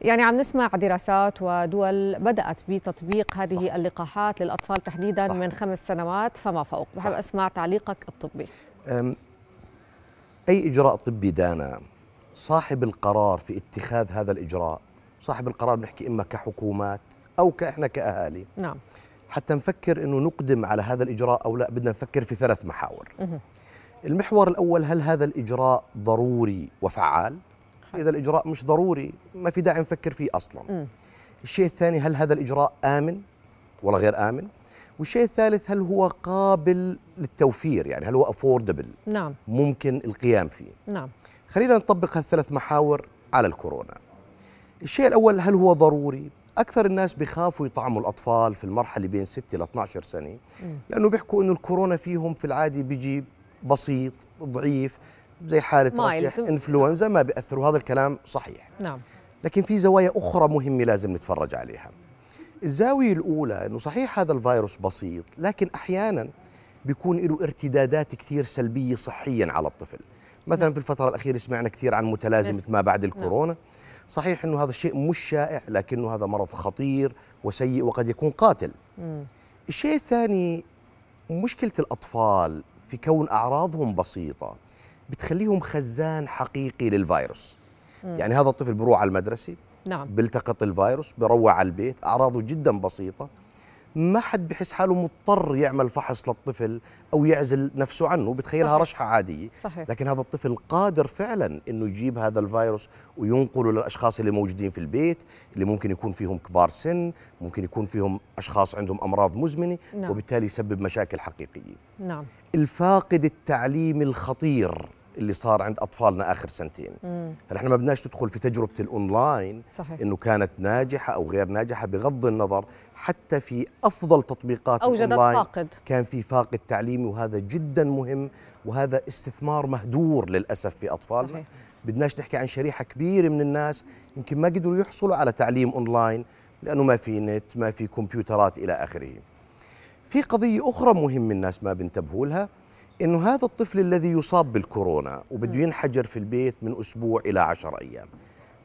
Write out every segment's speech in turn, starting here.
يعني عم نسمع دراسات ودول بدأت بتطبيق هذه صح. اللقاحات للأطفال تحديدا صح. من خمس سنوات فما فوق بحب أسمع تعليقك الطبي أي إجراء طبي دانا صاحب القرار في اتخاذ هذا الإجراء صاحب القرار بنحكي إما كحكومات أو كإحنا كأهالي نعم حتى نفكر أنه نقدم على هذا الإجراء أو لا بدنا نفكر في ثلاث محاور المحور الأول هل هذا الإجراء ضروري وفعال؟ اذا الاجراء مش ضروري ما في داعي نفكر فيه اصلا م. الشيء الثاني هل هذا الاجراء امن ولا غير امن والشيء الثالث هل هو قابل للتوفير يعني هل هو افوردبل نعم ممكن القيام فيه نعم خلينا نطبق هالثلاث محاور على الكورونا الشيء الاول هل هو ضروري اكثر الناس بيخافوا يطعموا الاطفال في المرحله بين 6 ل 12 سنه م. لانه بيحكوا انه الكورونا فيهم في العادي بيجي بسيط ضعيف زي حالة رشيح انفلونزا ما بيأثروا هذا الكلام صحيح نعم لكن في زوايا أخرى مهمة لازم نتفرج عليها الزاوية الأولى أنه صحيح هذا الفيروس بسيط لكن أحيانا بيكون له ارتدادات كثير سلبية صحيا على الطفل مثلا في الفترة الأخيرة سمعنا كثير عن متلازمة ما بعد الكورونا صحيح أنه هذا الشيء مش شائع لكنه هذا مرض خطير وسيء وقد يكون قاتل الشيء الثاني مشكلة الأطفال في كون أعراضهم بسيطة بتخليهم خزان حقيقي للفيروس مم. يعني هذا الطفل بروح على المدرسة نعم بيلتقط الفيروس بروح على البيت أعراضه جدا بسيطة ما حد بحس حاله مضطر يعمل فحص للطفل أو يعزل نفسه عنه بتخيلها صحيح. رشحة عادية صحيح. لكن هذا الطفل قادر فعلا أنه يجيب هذا الفيروس وينقله للأشخاص اللي موجودين في البيت اللي ممكن يكون فيهم كبار سن ممكن يكون فيهم أشخاص عندهم أمراض مزمنة نعم. وبالتالي يسبب مشاكل حقيقية نعم الفاقد التعليم الخطير اللي صار عند اطفالنا اخر سنتين نحن ما بدناش ندخل في تجربه الاونلاين صحيح. انه كانت ناجحه او غير ناجحه بغض النظر حتى في افضل تطبيقات اوجدت فاقد كان في فاقد تعليمي وهذا جدا مهم وهذا استثمار مهدور للاسف في اطفالنا صحيح. بدناش نحكي عن شريحه كبيره من الناس يمكن ما قدروا يحصلوا على تعليم اونلاين لانه ما في نت ما في كمبيوترات الى اخره في قضيه اخرى مهم الناس ما بينتبهوا لها انه هذا الطفل الذي يصاب بالكورونا وبده ينحجر في البيت من اسبوع الى عشر ايام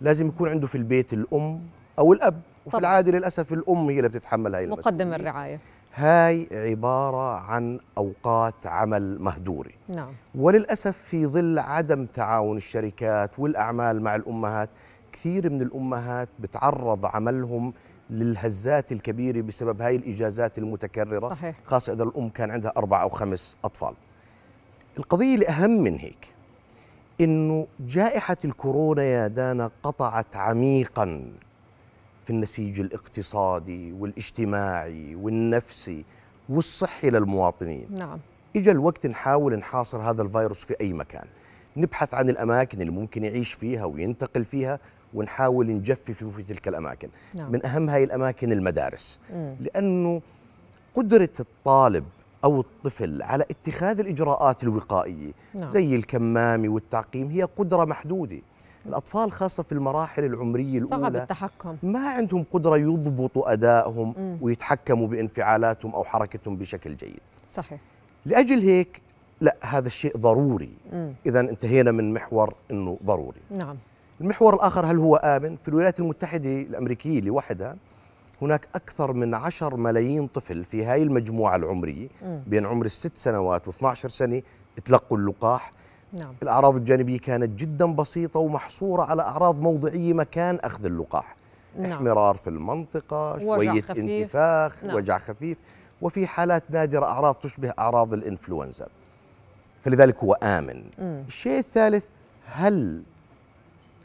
لازم يكون عنده في البيت الام او الاب وفي طبعا. العاده للاسف الام هي اللي بتتحمل هاي مقدم المسؤولية. الرعاية هاي عباره عن اوقات عمل مهدوره نعم وللاسف في ظل عدم تعاون الشركات والاعمال مع الامهات كثير من الامهات بتعرض عملهم للهزات الكبيره بسبب هاي الاجازات المتكرره صحيح. خاصه اذا الام كان عندها اربع او خمس اطفال القضيه الاهم من هيك انه جائحه الكورونا يا دانا قطعت عميقا في النسيج الاقتصادي والاجتماعي والنفسي والصحي للمواطنين نعم اجى الوقت نحاول نحاصر هذا الفيروس في اي مكان نبحث عن الاماكن اللي ممكن يعيش فيها وينتقل فيها ونحاول نجففه في تلك الاماكن نعم. من اهم هاي الاماكن المدارس مم. لانه قدره الطالب او الطفل على اتخاذ الاجراءات الوقائيه نعم. زي الكمامه والتعقيم هي قدره محدوده الاطفال خاصه في المراحل العمريه صعب الاولى التحكم ما عندهم قدره يضبطوا ادائهم مم. ويتحكموا بانفعالاتهم او حركتهم بشكل جيد صحيح لاجل هيك لا هذا الشيء ضروري مم. اذا انتهينا من محور انه ضروري نعم المحور الاخر هل هو امن في الولايات المتحده الامريكيه لوحدها هناك اكثر من 10 ملايين طفل في هاي المجموعه العمريه مم. بين عمر الست سنوات و12 سنه تلقوا اللقاح نعم الاعراض الجانبيه كانت جدا بسيطه ومحصوره على اعراض موضعيه مكان اخذ اللقاح نعم احمرار في المنطقه وجع شويه خفيف. انتفاخ نعم. وجع خفيف وفي حالات نادره اعراض تشبه اعراض الانفلونزا فلذلك هو امن مم. الشيء الثالث هل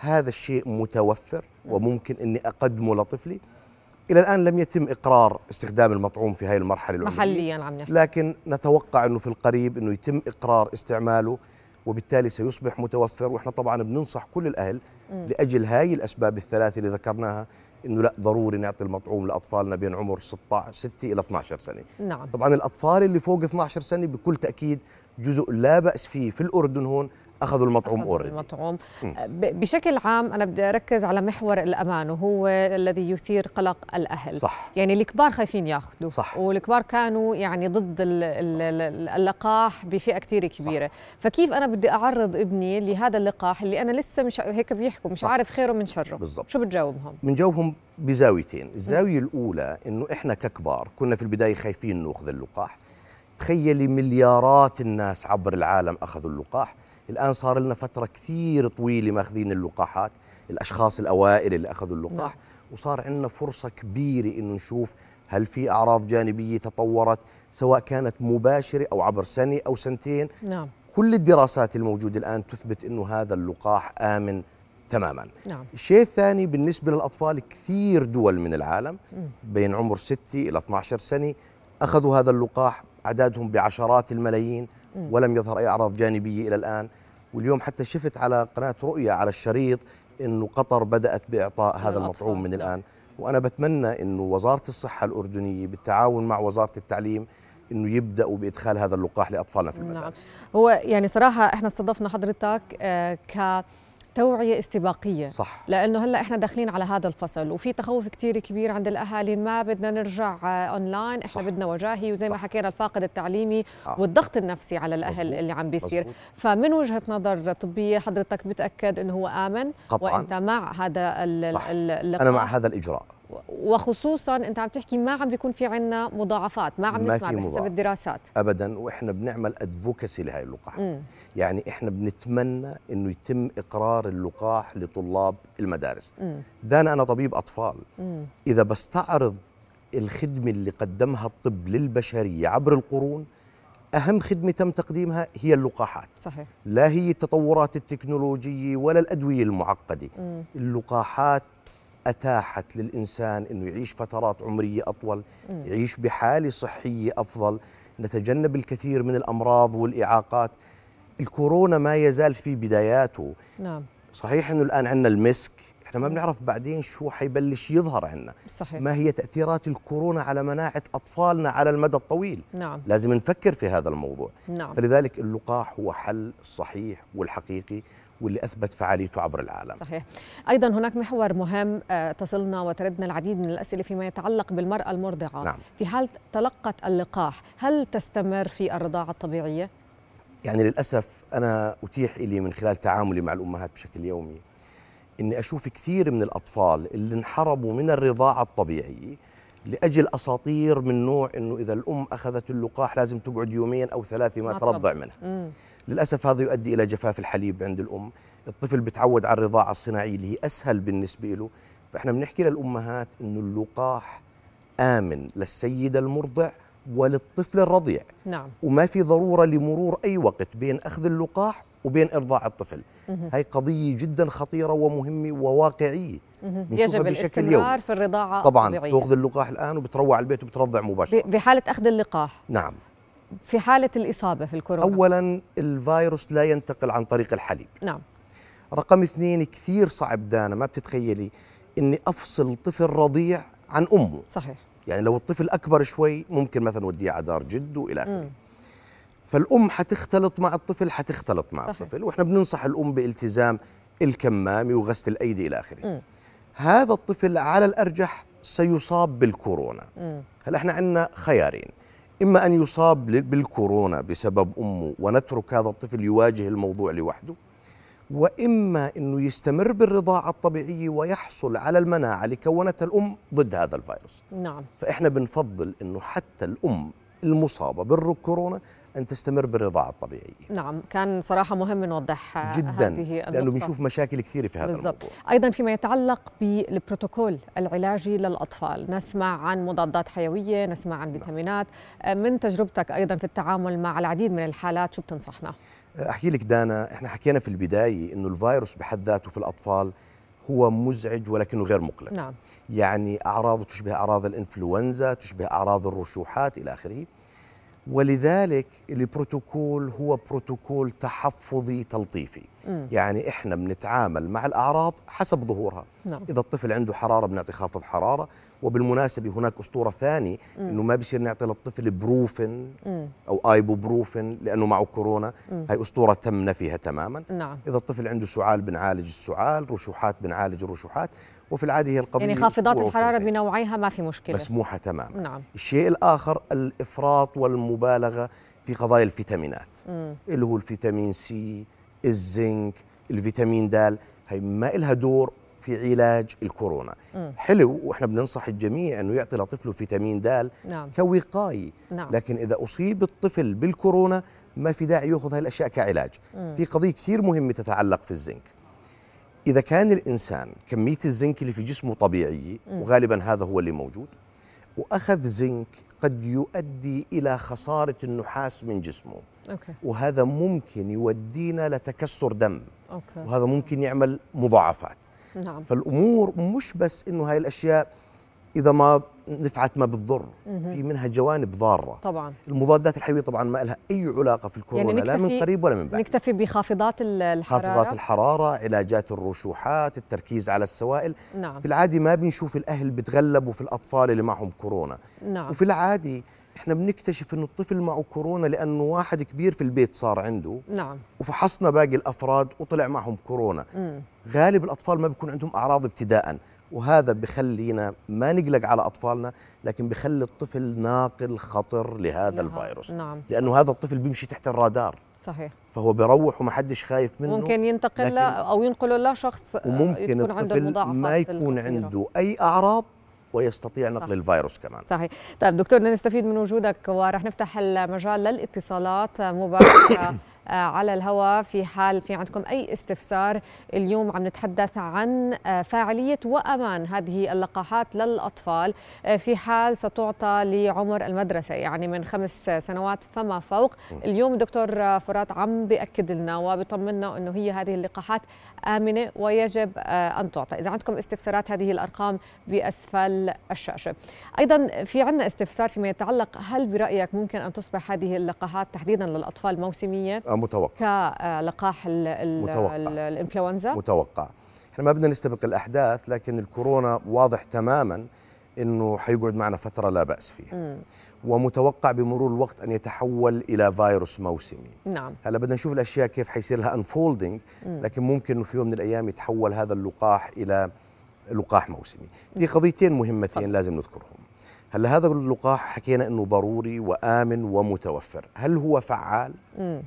هذا الشيء متوفر وممكن اني اقدمه لطفلي الى الان لم يتم اقرار استخدام المطعوم في هذه المرحله العمريه محليا عم نحكي لكن نتوقع انه في القريب انه يتم اقرار استعماله وبالتالي سيصبح متوفر واحنا طبعا بننصح كل الاهل لاجل هاي الاسباب الثلاثه اللي ذكرناها انه لا ضروري نعطي المطعوم لاطفالنا بين عمر 16 6 الى 12 سنه نعم طبعا الاطفال اللي فوق 12 سنه بكل تاكيد جزء لا باس فيه في الاردن هون اخذوا المطعوم تفضل اوريدي المطعوم مم. ب- بشكل عام انا بدي اركز على محور الامان وهو الذي يثير قلق الاهل صح يعني الكبار خايفين ياخذوا صح. والكبار كانوا يعني ضد ال- ال- ال- اللقاح بفئه كثير كبيره فكيف انا بدي اعرض ابني لهذا اللقاح اللي انا لسه مش هيك بيحكوا مش صح. عارف خيره من شره بالضبط. شو بتجاوبهم من جوهم بزاويتين الزاوية الأولى أنه إحنا ككبار كنا في البداية خايفين نأخذ اللقاح تخيلي مليارات الناس عبر العالم أخذوا اللقاح الآن صار لنا فترة كثير طويلة ماخذين اللقاحات الأشخاص الأوائل اللي أخذوا اللقاح وصار عندنا فرصة كبيرة أنه نشوف هل في أعراض جانبية تطورت سواء كانت مباشرة أو عبر سنة أو سنتين نعم كل الدراسات الموجودة الآن تثبت أنه هذا اللقاح آمن تماماً نعم الشيء الثاني بالنسبة للأطفال كثير دول من العالم مم. بين عمر 6 إلى 12 سنة أخذوا هذا اللقاح أعدادهم بعشرات الملايين مم. ولم يظهر أي أعراض جانبية إلى الآن واليوم حتى شفت على قناة رؤية على الشريط أنه قطر بدأت بإعطاء هذا للأطفال، المطعوم من نعم. الآن وأنا بتمنى أنه وزارة الصحة الأردنية بالتعاون مع وزارة التعليم أنه يبدأوا بإدخال هذا اللقاح لأطفالنا في نعم. المدارس هو يعني صراحه احنا استضفنا حضرتك آه، كتوعيه استباقيه صح لانه هلا احنا داخلين على هذا الفصل وفي تخوف كتير كبير عند الاهالي ما بدنا نرجع آه، اونلاين احنا صح. صح. بدنا وجاهي وزي ما صح. حكينا الفاقد التعليمي آه. آه. والضغط النفسي على الاهل مزبوط. مزبوط. اللي عم بيصير مزبوط. فمن وجهه نظر طبيه حضرتك بتاكد انه هو امن قطعا وانت مع هذا ال- صح. ال- اللقاح أنا مع هذا الإجراء وخصوصا انت عم تحكي ما عم بيكون في عنا مضاعفات ما عم ما نسمع في بحسب مضاعف. الدراسات ابدا واحنا بنعمل ادفوكسي لهي اللقاح مم. يعني احنا بنتمنى انه يتم اقرار اللقاح لطلاب المدارس مم. دان انا طبيب اطفال مم. اذا بستعرض الخدمه اللي قدمها الطب للبشريه عبر القرون اهم خدمه تم تقديمها هي اللقاحات صحيح لا هي التطورات التكنولوجيه ولا الادويه المعقده مم. اللقاحات اتاحت للانسان انه يعيش فترات عمريه اطول مم. يعيش بحاله صحيه افضل نتجنب الكثير من الامراض والاعاقات الكورونا ما يزال في بداياته نعم صحيح انه الان عندنا المسك احنا ما بنعرف بعدين شو حيبلش يظهر عندنا صحيح ما هي تاثيرات الكورونا على مناعه اطفالنا على المدى الطويل نعم لازم نفكر في هذا الموضوع نعم فلذلك اللقاح هو حل الصحيح والحقيقي واللي اثبت فعاليته عبر العالم صحيح أيضا هناك محور مهم آه، تصلنا وتردنا العديد من الأسئلة فيما يتعلق بالمرأة المرضعة نعم. في حال تلقت اللقاح هل تستمر في الرضاعة الطبيعية؟ يعني للأسف أنا أتيح إلي من خلال تعاملي مع الأمهات بشكل يومي إني أشوف كثير من الأطفال اللي انحرموا من الرضاعة الطبيعية لأجل أساطير من نوع إنه إذا الأم أخذت اللقاح لازم تقعد يومين أو ثلاثة ما ما ترضع ترضع. منها مم. للأسف هذا يؤدي إلى جفاف الحليب عند الأم الطفل بتعود على الرضاعة الصناعية اللي هي أسهل بالنسبة له فإحنا بنحكي للأمهات إنه اللقاح آمن للسيدة المرضع وللطفل الرضيع نعم وما في ضروره لمرور اي وقت بين اخذ اللقاح وبين ارضاع الطفل مهم. هاي قضيه جدا خطيره ومهمه وواقعيه مهم. بنشوفها يجب بشكل الاستمرار يومي. في الرضاعة طبعا الطبيعية تاخذ اللقاح الان وبتروح على البيت وبترضع مباشره ب- بحالة أخذ اللقاح نعم في حالة الإصابة في الكورونا اولا الفيروس لا ينتقل عن طريق الحليب نعم رقم اثنين كثير صعب دانا ما بتتخيلي اني افصل طفل رضيع عن امه صحيح يعني لو الطفل اكبر شوي ممكن مثلا وديه على دار جده الى اخره مم. فالام حتختلط مع الطفل حتختلط مع صحيح. صحيح. الطفل واحنا بننصح الام بالتزام الكمامه وغسل الايدي الى اخره مم. هذا الطفل على الارجح سيصاب بالكورونا مم. هلا احنا عندنا خيارين اما ان يصاب ل- بالكورونا بسبب امه ونترك هذا الطفل يواجه الموضوع لوحده واما انه يستمر بالرضاعه الطبيعيه ويحصل على المناعه اللي كونتها الام ضد هذا الفيروس نعم فاحنا بنفضل انه حتى الام المصابه بالكورونا ان تستمر بالرضاعه الطبيعيه نعم كان صراحة مهم نوضح آه، جدا هذه لانه النقطة. بنشوف مشاكل كثيره في هذا بالضبط. الموضوع ايضا فيما يتعلق بالبروتوكول العلاجي للاطفال نسمع عن مضادات حيويه نسمع نعم. عن فيتامينات آه، من تجربتك ايضا في التعامل مع العديد من الحالات شو بتنصحنا احكي آه، لك دانا احنا حكينا في البدايه انه الفيروس بحد ذاته في الاطفال هو مزعج ولكنه غير مقلق نعم يعني اعراضه تشبه اعراض الانفلونزا تشبه اعراض الرشوحات الى اخره ولذلك البروتوكول هو بروتوكول تحفظي تلطيفي مم. يعني احنا بنتعامل مع الاعراض حسب ظهورها نعم اذا الطفل عنده حراره بنعطي خافض حراره وبالمناسبه هناك اسطوره ثانيه انه ما بصير نعطي للطفل بروفن مم. او ايبوبروفن لانه معه كورونا هاي اسطوره تم نفيها تماما نعم اذا الطفل عنده سعال بنعالج السعال رشوحات بنعالج الرشوحات وفي العاده هي القضيه يعني خافضات أسبوع الحراره وثلاثين. بنوعيها ما في مشكله مسموحه تماما نعم الشيء الآخر الإفراط والمبالغة في قضايا الفيتامينات مم. اللي هو الفيتامين سي الزنك الفيتامين د هي ما إلها دور في علاج الكورونا مم. حلو وإحنا بننصح الجميع أنه يعطي لطفله فيتامين د نعم كوقاية نعم لكن إذا أصيب الطفل بالكورونا ما في داعي يأخذ هاي الأشياء كعلاج مم. في قضية كثير مهمة تتعلق في الزنك إذا كان الإنسان كمية الزنك اللي في جسمه طبيعية مم. وغالبا هذا هو اللي موجود وأخذ زنك قد يؤدي إلى خسارة النحاس من جسمه اوكي وهذا ممكن يودينا لتكسر دم اوكي وهذا ممكن يعمل مضاعفات نعم فالأمور مش بس إنه هاي الأشياء إذا ما نفعت ما بتضر مهم. في منها جوانب ضارة طبعا المضادات الحيوية طبعا ما لها أي علاقة في الكورونا لا يعني نكتفي- من قريب ولا من بعيد نكتفي بخافضات ال- الحراره خافضات الحرارة علاجات الرشوحات التركيز على السوائل نعم في العادي ما بنشوف الأهل بتغلبوا في الأطفال اللي معهم كورونا نعم وفي العادي احنا بنكتشف انه الطفل معه كورونا لانه واحد كبير في البيت صار عنده نعم وفحصنا باقي الافراد وطلع معهم كورونا مم. غالب الاطفال ما بيكون عندهم اعراض ابتداء وهذا بخلينا ما نقلق على اطفالنا لكن بخلي الطفل ناقل خطر لهذا نعم. الفيروس نعم لانه هذا الطفل بيمشي تحت الرادار صحيح فهو بيروح وما حدش خايف منه ممكن لكن- ينتقل لا- او ينقله لشخص آه، وممكن يكون عنده الطفل المضاعفات ما يكون الخطيرة. عنده اي اعراض ويستطيع نقل صح. الفيروس كمان صحيح طيب دكتور بدنا نستفيد من وجودك ورح نفتح المجال للاتصالات مباشرة آه، على الهواء في حال في عندكم أي استفسار اليوم عم نتحدث عن آه، فاعلية وأمان هذه اللقاحات للأطفال آه، في حال ستعطى لعمر المدرسة يعني من خمس سنوات فما فوق اليوم الدكتور فرات عم بأكد لنا وبيطمنا أنه هي هذه اللقاحات آمنة ويجب آه، أن تعطى إذا عندكم استفسارات هذه الأرقام بأسفل الشاشة ايضا في عندنا استفسار فيما يتعلق هل برايك ممكن ان تصبح هذه اللقاحات تحديدا للاطفال موسميه آه، متوقع كلقاح ال ال متوقع. ال الانفلونزا متوقع احنا ما بدنا نستبق الاحداث لكن الكورونا واضح تماما انه حيقعد معنا فتره لا باس فيها مم. ومتوقع بمرور الوقت ان يتحول الى فيروس موسمي نعم هلا بدنا نشوف الاشياء كيف حيصير لها انفولدنج مم. لكن ممكن انه في يوم من الايام يتحول هذا اللقاح الى لقاح موسمي في قضيتين مهمتين لازم نذكرهم هلا هذا اللقاح حكينا انه ضروري وامن ومتوفر هل هو فعال مم.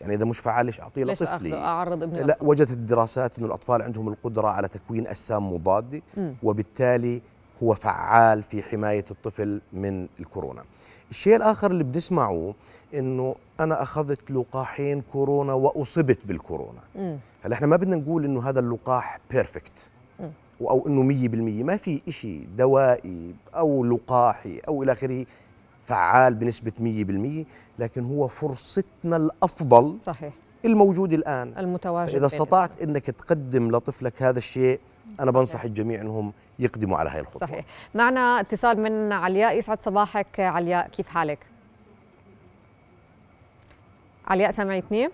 يعني اذا مش فعال ليش اعطيه ليش لطفلي اخذه اعرض ابني لا وجدت الدراسات انه الاطفال عندهم القدره على تكوين اجسام مضاده مم. وبالتالي هو فعال في حمايه الطفل من الكورونا. الشيء الاخر اللي بنسمعه انه انا اخذت لقاحين كورونا واصبت بالكورونا. مم. هلا احنا ما بدنا نقول انه هذا اللقاح بيرفكت مم. او انه 100% ما في شيء دوائي او لقاحي او الى اخره فعال بنسبه 100% لكن هو فرصتنا الافضل صحيح الموجوده الان المتواجد فاذا بين استطعت انك تقدم لطفلك هذا الشيء انا بنصح الجميع انهم يقدموا على هاي الخطوه صحيح معنا اتصال من علياء يسعد صباحك علياء كيف حالك علياء سامعتني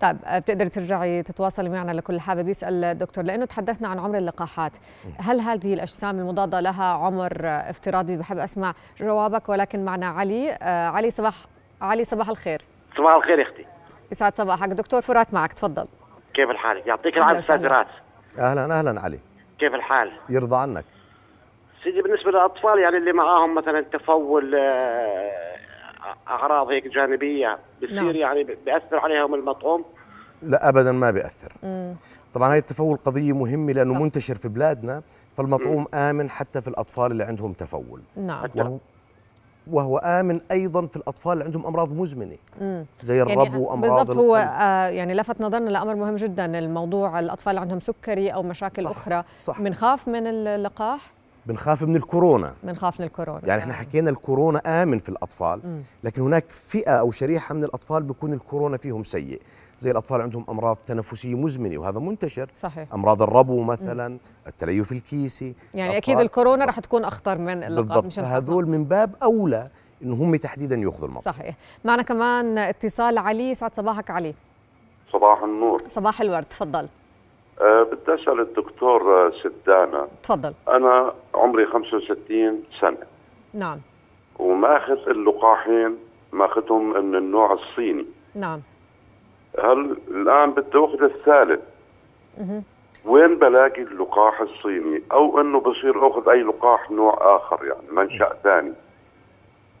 طيب آه، بتقدر ترجعي تتواصلي معنا لكل حابب يسال الدكتور لانه تحدثنا عن عمر اللقاحات هل هذه الاجسام المضاده لها عمر آه، افتراضي بحب اسمع جوابك ولكن معنا علي آه، علي صباح علي صباح الخير صباح الخير يا اختي يسعد صباحك دكتور فرات معك تفضل كيف الحال يعطيك أهلا العافيه استاذ وسهلا. راس اهلا اهلا علي كيف الحال يرضى عنك سيدي بالنسبه للاطفال يعني اللي معاهم مثلا تفول آه، اعراض هيك جانبيه بصير نعم. يعني بياثر عليهم المطعوم لا ابدا ما بياثر مم. طبعا هاي التفول قضيه مهمه لانه صح. منتشر في بلادنا فالمطعوم امن حتى في الاطفال اللي عندهم تفول نعم نعم. وهو, وهو امن ايضا في الاطفال اللي عندهم امراض مزمنه مم. يعني زي الربو وامراض بالضبط هو القلب. آه يعني لفت نظرنا لامر مهم جدا الموضوع الاطفال اللي عندهم سكري او مشاكل صح، اخرى صح. بنخاف من اللقاح بنخاف من الكورونا بنخاف من الكورونا يعني احنا حكينا الكورونا امن في الاطفال مم. لكن هناك فئه او شريحه من الاطفال بيكون الكورونا فيهم سيء زي الاطفال عندهم امراض تنفسيه مزمنه وهذا منتشر صحيح امراض الربو مثلا التليف الكيسي يعني أطفال- اكيد الكورونا رح تكون اخطر من اللقاح بالضبط مشان خاطرنا. فهذول من باب اولى انه هم تحديدا ياخذوا الموضوع صحيح معنا كمان اتصال علي يسعد صباحك علي صباح النور صباح الورد تفضل أه بدي اسال الدكتور آه، سدانه تفضل انا عمري 65 سنه نعم وماخذ اللقاحين ماخذهم من النوع الصيني نعم هل الان بدي اخذ الثالث وين بلاقي اللقاح الصيني او انه بصير اخذ اي لقاح نوع اخر يعني منشا ثاني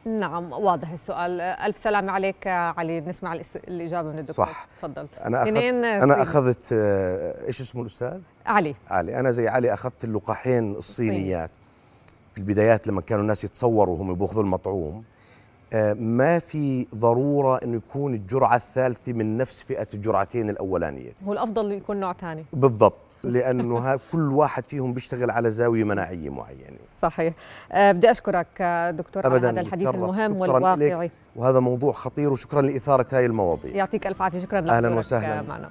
نعم واضح السؤال ألف سلامة عليك علي نسمع الاس- الإجابة من الدكتور صح. تفضل انا اخذت اثنين انا صيني. اخذت آه، ايش اسمه الاستاذ علي علي انا زي علي اخذت اللقاحين الصينيات في البدايات لما كانوا الناس يتصوروا وهم بياخذوا المطعوم آه، ما في ضروره انه يكون الجرعه الثالثه من نفس فئه الجرعتين الاولانيه هو الأفضل يكون نوع ثاني بالضبط لانه ها- كل واحد فيهم بيشتغل على زاويه مناعيه معينه صحيح آه، بدي أشكرك آه، دكتور على ابدا هذا الحديث بتشرف. المهم شكراً إليك. والواقعي وهذا موضوع خطير وشكرا لاثاره هاي المواضيع يعطيك ألف عافية شكرا لك أهلاً وسهلاً. معنا